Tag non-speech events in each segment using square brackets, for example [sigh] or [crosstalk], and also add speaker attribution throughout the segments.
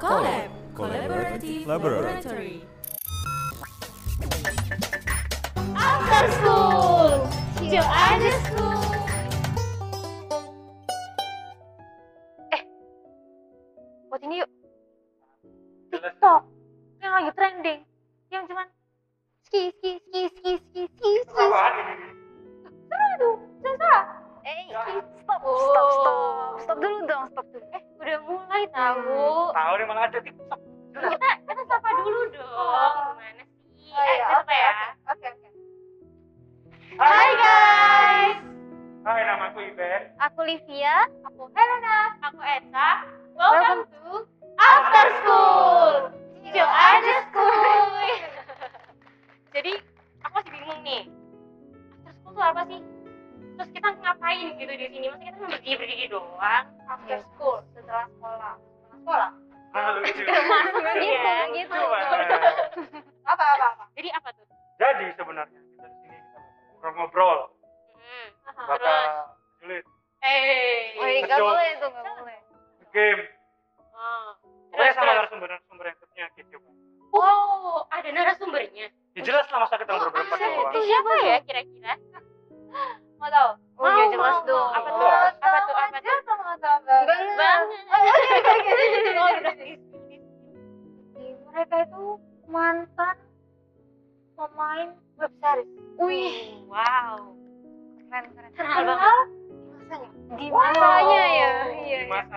Speaker 1: Collab Collaborative Laboratory
Speaker 2: After School Chill Ada School
Speaker 3: Eh, buat ini yuk TikTok yang lagi trending yang cuman ski ski ski ski ski ski ski seru itu jangan salah eh ski stop stop stop stop dulu dong stop dulu eh udah mulai tahu
Speaker 4: Tahu nih malah ada TikTok.
Speaker 3: kita kita sapa dulu dong Oh, gimana sih eh kita sapa ya
Speaker 2: Oke oke
Speaker 3: Hai guys
Speaker 4: Hai, namaku
Speaker 3: [laughs]
Speaker 4: Iben.
Speaker 3: aku Livia aku Helena aku Eta
Speaker 2: Welcome to After School Chill Ada School
Speaker 3: jadi aku masih bingung nih after school tuh apa sih terus kita ngapain gitu di sini maksudnya kita berdiri berdiri doang
Speaker 2: After School setelah sekolah Setelah sekolah
Speaker 4: Nah, lucu.
Speaker 3: gitu, gitu.
Speaker 4: Gimana?
Speaker 2: apa apa apa
Speaker 3: jadi apa tuh
Speaker 4: Jadi sebenarnya kita di sini kita ngobrol-ngobrol
Speaker 3: hmm. terus
Speaker 4: bakal sulit
Speaker 3: eh
Speaker 2: Wih,
Speaker 4: nggak boleh
Speaker 2: itu nggak Oh boleh
Speaker 4: game.
Speaker 3: oh.
Speaker 4: Pokoknya
Speaker 3: Terus,
Speaker 4: sama
Speaker 3: terus.
Speaker 4: narasumber-narasumber yang ternyata gitu.
Speaker 3: oh ada narasumbernya
Speaker 4: Ya jelas lah masa kita ngobrol
Speaker 3: Ah,
Speaker 4: berempat
Speaker 3: itu
Speaker 4: doang.
Speaker 3: siapa ya kira-kira
Speaker 2: mau tahu
Speaker 3: Oh, iya, jelas dong.
Speaker 2: apa
Speaker 3: Mau
Speaker 2: tuh
Speaker 3: tahu
Speaker 2: apa tuh apa
Speaker 3: aja
Speaker 2: tuh banget iya,
Speaker 3: Banget. Oh, udah.
Speaker 2: mereka itu mantan pemain web series wih
Speaker 3: wow
Speaker 2: keren keren
Speaker 3: Terkenal banget.
Speaker 2: masanya di
Speaker 3: Wow.
Speaker 2: masanya ya iya
Speaker 4: Di masa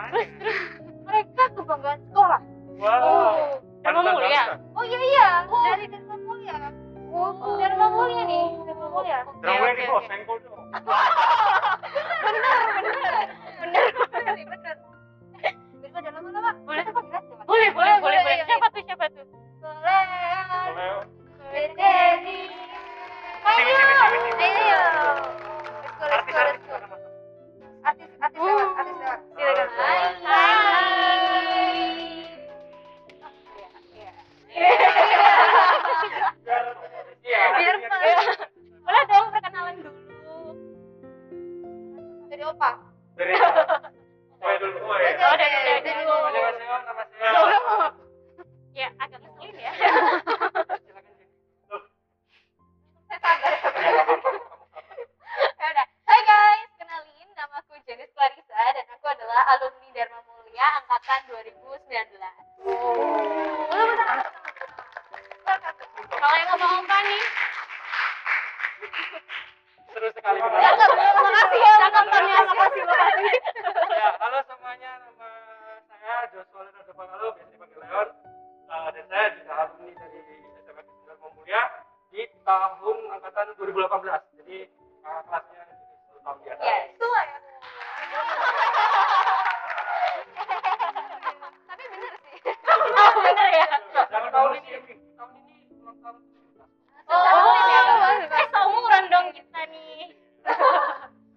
Speaker 2: mereka kebanggaan sekolah
Speaker 3: Oh.
Speaker 4: Wow. Kan
Speaker 3: Dharma
Speaker 4: Mantan
Speaker 3: Mulia.
Speaker 4: bangsa.
Speaker 2: oh iya iya dari Dharma Mulia
Speaker 3: Oh.
Speaker 2: Dharma Mulia nih Dharma Mulia
Speaker 4: Dharma Mulia
Speaker 3: Oke, Iya, oke,
Speaker 4: di
Speaker 3: oke.
Speaker 4: Boseng kok dong.
Speaker 2: bener daripada lama-lama
Speaker 3: Boleh.
Speaker 2: kita pakai aja, Iya, Mas.
Speaker 3: boleh boleh boleh boleh
Speaker 2: yang
Speaker 3: siapa tuh siapa tuh
Speaker 2: iya. Boleh.
Speaker 4: Boleh.
Speaker 2: Berdiri.
Speaker 4: Sini, sini, sini, sini.
Speaker 2: Ayo. Let's go, let's go, let's
Speaker 4: Artis-artis
Speaker 2: go. Artis, artis
Speaker 4: mana, Mas?
Speaker 2: lewat, artis lewat. Silakan.
Speaker 4: Hai. Biar- Iya.
Speaker 3: Biar- boleh dong perkenalan dulu
Speaker 2: Dari opa.
Speaker 4: Dari
Speaker 3: [laughs]
Speaker 4: Mulai dulu gue ya.
Speaker 3: Oh, dari- dari dulu.
Speaker 4: Halo, Mas Dewa, nama saya.
Speaker 3: ya agak ngeselin ya
Speaker 4: Silakan, Cik.
Speaker 2: Saya sadar.
Speaker 4: Ya, nggak apa-apa.
Speaker 2: Ya udah. Hai guys, kenalin nama aku Jenis Clarissa dan aku adalah alumni Dharma Mulia angkatan 2019. Oh. Lu benar.
Speaker 3: kalau yang ngomong-ngomong nih
Speaker 4: Seru sekali.
Speaker 2: Cakep, makasih ya.
Speaker 3: Cakep, Tonya. Makasih,
Speaker 2: makasih.
Speaker 4: ya, halo semuanya, nama saya Joshua Leonardo Pangalo, biasa dipanggil Leon. Eh, dan saya juga alumni dari SMA Kejuruan Mulia di tahun angkatan 2018. Jadi eh, kelasnya di tahun di atas.
Speaker 2: Ya, itu lah [laughs] ya. Tapi bener sih.
Speaker 3: oh bener ya
Speaker 4: Jangan tahun ini, tahun ini ulang tahun.
Speaker 3: Oh,
Speaker 2: Cakep,
Speaker 3: oh,
Speaker 2: ya.
Speaker 3: eh seumuran dong kita nih.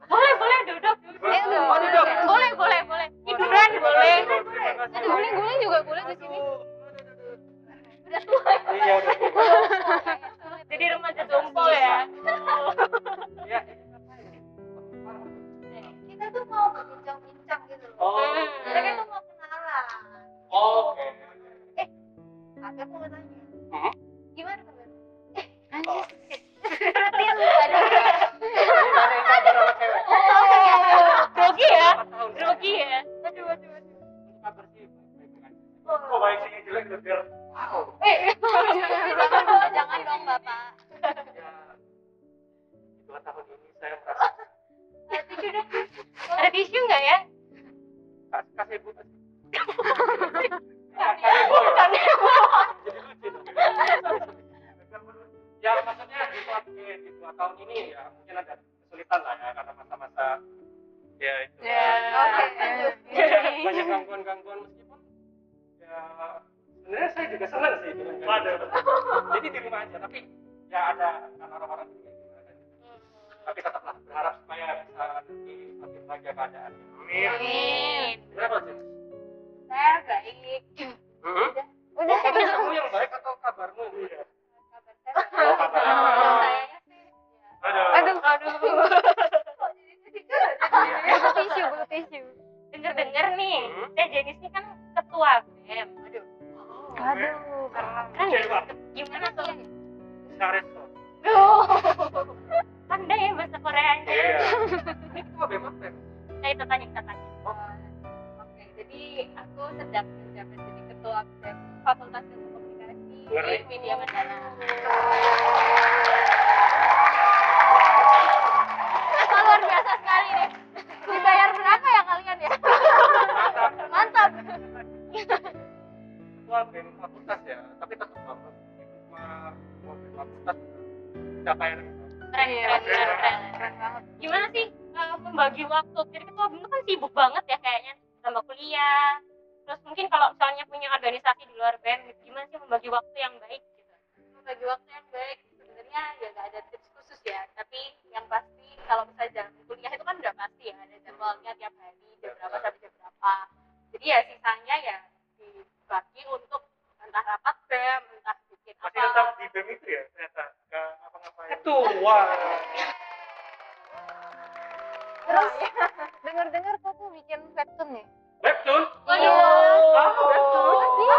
Speaker 3: boleh, boleh duduk. duduk.
Speaker 4: Eh,
Speaker 2: lu.
Speaker 3: boleh, duduk. boleh, boleh, boleh. Tiduran boleh.
Speaker 4: Terima kasih.
Speaker 2: Ada guling-guling juga boleh di sini.
Speaker 4: Aduh, aduh, aduh, aduh. Iya, udah tua.
Speaker 3: Jadi remaja tumpul ya.
Speaker 4: Iya.
Speaker 2: Kita tuh mau berbincang-bincang gitu loh.
Speaker 4: Oh,
Speaker 2: Mereka tuh mau kenalan.
Speaker 4: oke.
Speaker 2: Tapi aku mau tanya.
Speaker 4: Hah?
Speaker 2: Gimana kabar?
Speaker 4: Oh.
Speaker 2: Perhatian lu ada.
Speaker 4: Jadi ada yang sabar sama cewek.
Speaker 3: Grogi ya,
Speaker 4: Empat tahun.
Speaker 3: grogi ya.
Speaker 2: Aduh, aduh, aduh.
Speaker 4: Kabar sih, baik-baik aja. Kok baik sih yang jelek udah biar wow.
Speaker 2: Eh, jangan dong, jangan dong, Bapak.
Speaker 4: Ya, dua tahun ini saya merasa
Speaker 3: Ada tisu nggak ya?
Speaker 4: kas- kasih ibu kasih. Kasih ibu. Jadi lucu dong. Ya maksudnya di dua, eh, di dua tahun ini ya mungkin ada kesulitan lah ya karena masa-masa ya itu.
Speaker 2: Oke, lanjut.
Speaker 4: Banyak- banyak gangguan-gangguan meskipun ya sebenarnya saya juga senang sih dengan gangguan. Jadi di rumah aja tapi ya ada kan orang-orang juga yang gimana gitu.
Speaker 2: Hmm.
Speaker 4: tapi tetaplah berharap supaya bisa nanti makin bahagia keadaan.
Speaker 3: Amin.
Speaker 4: Berapa Jen?
Speaker 2: Saya baik. Udah,
Speaker 4: Oh, kamu- kamu yang baik atau kabarmu yang baik?
Speaker 2: kabar saya.
Speaker 4: Oh, kabar.
Speaker 2: Kalau sayanya sih, ya.
Speaker 4: Aduh.
Speaker 3: aduh.
Speaker 2: Kok jadi sedih?
Speaker 3: Dengar-dengar nih,
Speaker 4: Hmm?
Speaker 3: saya
Speaker 2: Jenis ini kan ketua BEM. Aduh.
Speaker 3: Aduh,
Speaker 2: Kan
Speaker 4: Oke, Pak.
Speaker 2: gimana tuh?
Speaker 4: Sareso.
Speaker 2: Duh.
Speaker 3: Kan
Speaker 2: Pandai ya bahasa Koreanya.
Speaker 3: [laughs]
Speaker 4: Iya. Ini ketua BEM apa ya?
Speaker 2: Nah, itu tanya kita tanya.
Speaker 3: Oh, Oke, jadi aku sedang menjabat jadi ketua BEM Fakultas Ilmu Komunikasi
Speaker 4: Ngeri.
Speaker 3: di Media Mandala.
Speaker 2: Wah, luar biasa sekali nih. Dibayar berapa ya kalian ya?
Speaker 4: Mantap.
Speaker 2: Mantap.
Speaker 4: Ketua BEM fakultas ya, tapi tetap bagus. Ini Cuma ketua BEM fakultas. Capaian.
Speaker 2: Keren, keren, Iya, keren, keren. Gimana sih eh, membagi waktu? Jadi ketua BEM itu kan sibuk banget ya kayaknya sama kuliah. Terus mungkin kalau misalnya punya organisasi di luar BEM, gimana sih membagi waktu yang baik gitu?
Speaker 3: Bagi waktu yang baik sebenarnya ya nggak ada tips khusus ya, tapi yang pasti kalau misalnya jalan kuliah itu kan udah pasti ya ada jadwalnya tiap hari jam berapa sampai jam berapa. Jadi ya sisanya ya dibagi untuk entah rapat BEM, entah bikin
Speaker 4: Masih
Speaker 3: apa.
Speaker 4: tetap di BEM itu ya ternyata. Gak apa-ngapain. Ketua.
Speaker 5: Terus dengar-dengar kamu bikin webtoon ya?
Speaker 4: Webtoon.
Speaker 2: Waduh.
Speaker 4: Ah, webtoon.
Speaker 2: Iya,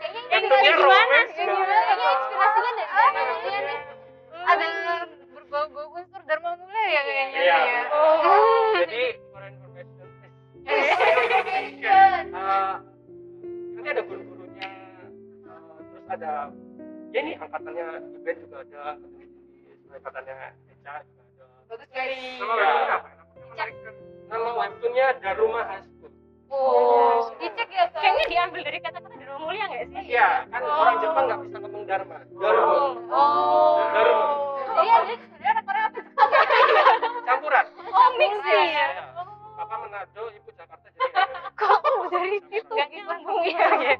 Speaker 5: Kayaknya
Speaker 4: Yang
Speaker 5: inspirasi-
Speaker 4: punya romance
Speaker 5: Yang
Speaker 4: dong.
Speaker 5: gimana? Kayaknya inspirasinya dari Dharma Mulia nih. Ada yang berbau-bau unsur Dharma Mulia ya kayaknya
Speaker 4: Iya.
Speaker 5: sih ya.
Speaker 4: Jadi for information, eh, for information, eh, nanti ada guru-gurunya, eh, terus ada ya ini angkatannya Iben juga ada, terus angkatannya Eca juga ada.
Speaker 3: Bagus guys.
Speaker 4: Nama webtoonnya apa? Nama webtoon- Nama webtoonnya Daruma High School.
Speaker 3: Oh, dicek ya kak.
Speaker 5: Iya,
Speaker 2: Kayaknya diambil dari kata-kata di rumah mulia nggak sih?
Speaker 4: Iya, kan orang Jepang nggak bisa ngomong Dharma. Daruma,
Speaker 3: Oh.
Speaker 4: Daruma,
Speaker 3: Jadi ada sebenarnya ada Korea apa Jepang ya?
Speaker 4: campuran.
Speaker 2: Oh, mix ya.
Speaker 4: Iya. Papa Manado, Ibu Jakarta jadi.
Speaker 5: Kok dari situ?
Speaker 2: Nggak nyambung ya. ya.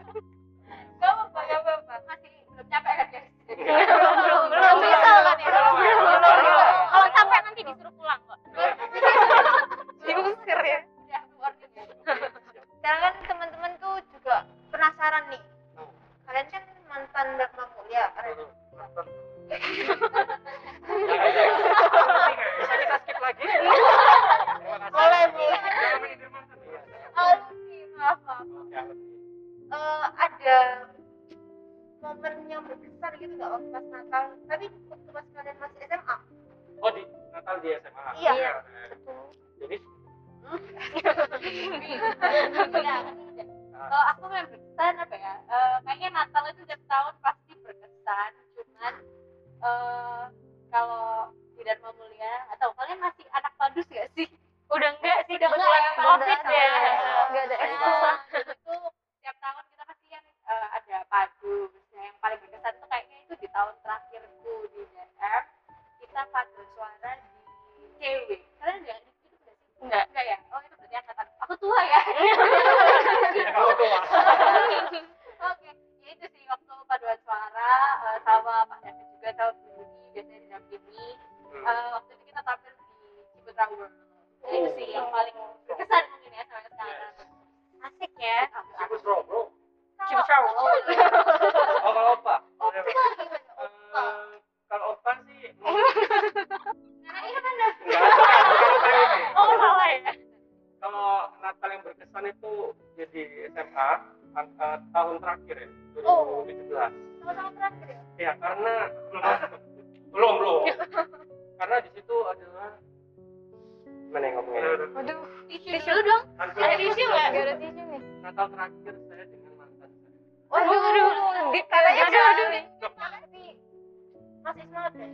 Speaker 3: Gak apa-apa, gak apa-apa. Masih belum capek kan
Speaker 5: ya? [laughs]
Speaker 4: Iya.
Speaker 3: guys?
Speaker 4: Belum,
Speaker 2: belum,
Speaker 3: Belum bisa kan ya?
Speaker 4: Belum, belum, belum.
Speaker 2: Kalau capek nanti disuruh pulang kok.
Speaker 5: Diusir ya.
Speaker 3: Udah warning ya.
Speaker 5: Sekarang kan teman-teman tuh juga penasaran nih. Kalian kan mantan Dharma Mulia. Kalian
Speaker 4: Iya. bisa kita skip lagi boleh boleh
Speaker 5: alumni, maaf, maaf. Eh, ada momen yang berkesan gitu nggak waktu pas Natal? Tapi waktu pas kalian masih SMA.
Speaker 4: oh di Natal di SMA
Speaker 5: Iya.
Speaker 4: jadi
Speaker 3: Iya, kan udah. Kalau aku memang berkesan apa ya? Eh, kayaknya Natal itu setiap tahun pasti berkesan. Cuman eh, kalau di Dharma Mulia atau kalian masih anak padus gak sih?
Speaker 2: Udah enggak sih
Speaker 3: Udah
Speaker 2: kebetulan
Speaker 3: nggak,
Speaker 2: covid
Speaker 3: udah
Speaker 2: ya.
Speaker 3: nggak.
Speaker 5: Nggak ada ekskul.
Speaker 3: Nah, itu setiap tahun kita pasti yang eh, ada padu. Nah, yang paling berkesan itu kayaknya itu di tahun terakhirku di DM kita padu suara di CW. Kalian udah di situ nggak sih?
Speaker 2: Nggak.
Speaker 3: Enggak ya? Oh, itu berarti angkatan. Aku tua ya.
Speaker 4: ya kamu tua
Speaker 3: Oke, ya itu sih waktu paduan suara eh, sama Pak David juga sama Bu Budi biasanya di dalam ini. Eh, waktu itu kita tampil di Ciputra World. Nah, itu sih yang paling berkesan mungkin ya sampai sekarang.
Speaker 2: Asik ya.
Speaker 4: Ibu Sro, bro
Speaker 2: Coba tahu.
Speaker 4: oh kalau opa Eh, kalau opa sih [laughs]
Speaker 3: Nah, iya kan dah.
Speaker 4: nggak ada, bukan opa yang ini.
Speaker 2: Oh salah ya.
Speaker 4: kalau Natal yang berkesan itu jadi SMA an- eh, tahun terakhir ya 2017
Speaker 2: Oh.
Speaker 3: Sama-sama terakhir ya.
Speaker 4: Ya karena [laughs] belum belum. karena di situ adalah gimana yang ngomongnya?
Speaker 5: Waduh,
Speaker 3: Tisu dulu dong.
Speaker 2: Ada tisu nggak?
Speaker 5: nggak ada tisu nih.
Speaker 4: Natal terakhir saya dengan mantan. saya.
Speaker 5: Waduh,
Speaker 2: Waduh,
Speaker 5: Deep kalian
Speaker 2: Aduh,
Speaker 5: jauh.
Speaker 2: aduh.
Speaker 5: Tapi masih semangat deh.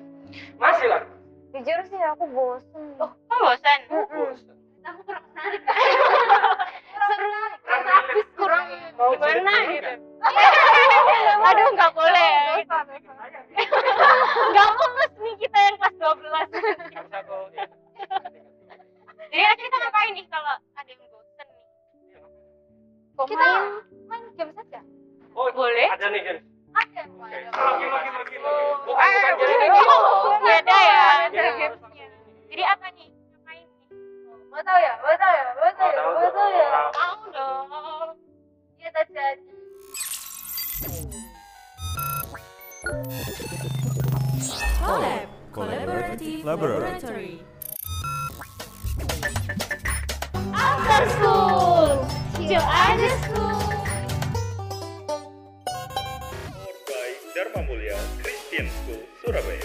Speaker 4: Masih lah.
Speaker 5: Jujur sih aku bosen. Oh,
Speaker 2: Kok bosan?
Speaker 4: Bosan.
Speaker 3: Aku kurang menarik. Seru.
Speaker 4: Kurang
Speaker 3: Kurang habis kurang.
Speaker 4: Mau
Speaker 2: Gimana
Speaker 4: cerita
Speaker 2: gitu?
Speaker 4: kan?
Speaker 2: Aduh nggak boleh. Nggak mulus nih kita yang kelas 12.
Speaker 4: Nggak usah kau, ya.
Speaker 2: Jadi akhirnya Iya, kita ngapain nih kalau ada yang bosan nih?
Speaker 4: Iya.
Speaker 2: [laughs]
Speaker 5: kita
Speaker 3: main game saja.
Speaker 4: Oh
Speaker 2: Boleh.
Speaker 4: Ada nih kan.
Speaker 3: Ada.
Speaker 4: Oke. Lagi
Speaker 3: Waduh.
Speaker 4: lagi lagi lagi. Bukan
Speaker 5: Eh,
Speaker 4: bukan jadi
Speaker 5: boleh.
Speaker 4: gini.
Speaker 2: Beda ya.
Speaker 4: Jadi
Speaker 5: Ada
Speaker 4: harus langsung
Speaker 2: gamenya.
Speaker 4: ini.
Speaker 2: Jadi apa nih? Ngapain nih?
Speaker 5: mau tahu ya? Mau tahu ya? Mau
Speaker 4: Oh,
Speaker 5: tahu ya?
Speaker 4: tahu,
Speaker 5: Mau tahu
Speaker 4: tahu,
Speaker 5: ya?
Speaker 4: tahu.
Speaker 2: Mau dong.
Speaker 3: Iya saja.
Speaker 1: Collab Collaborative Laboratory.
Speaker 2: After school.
Speaker 6: Dharma Mulia Christian School, Surabaya.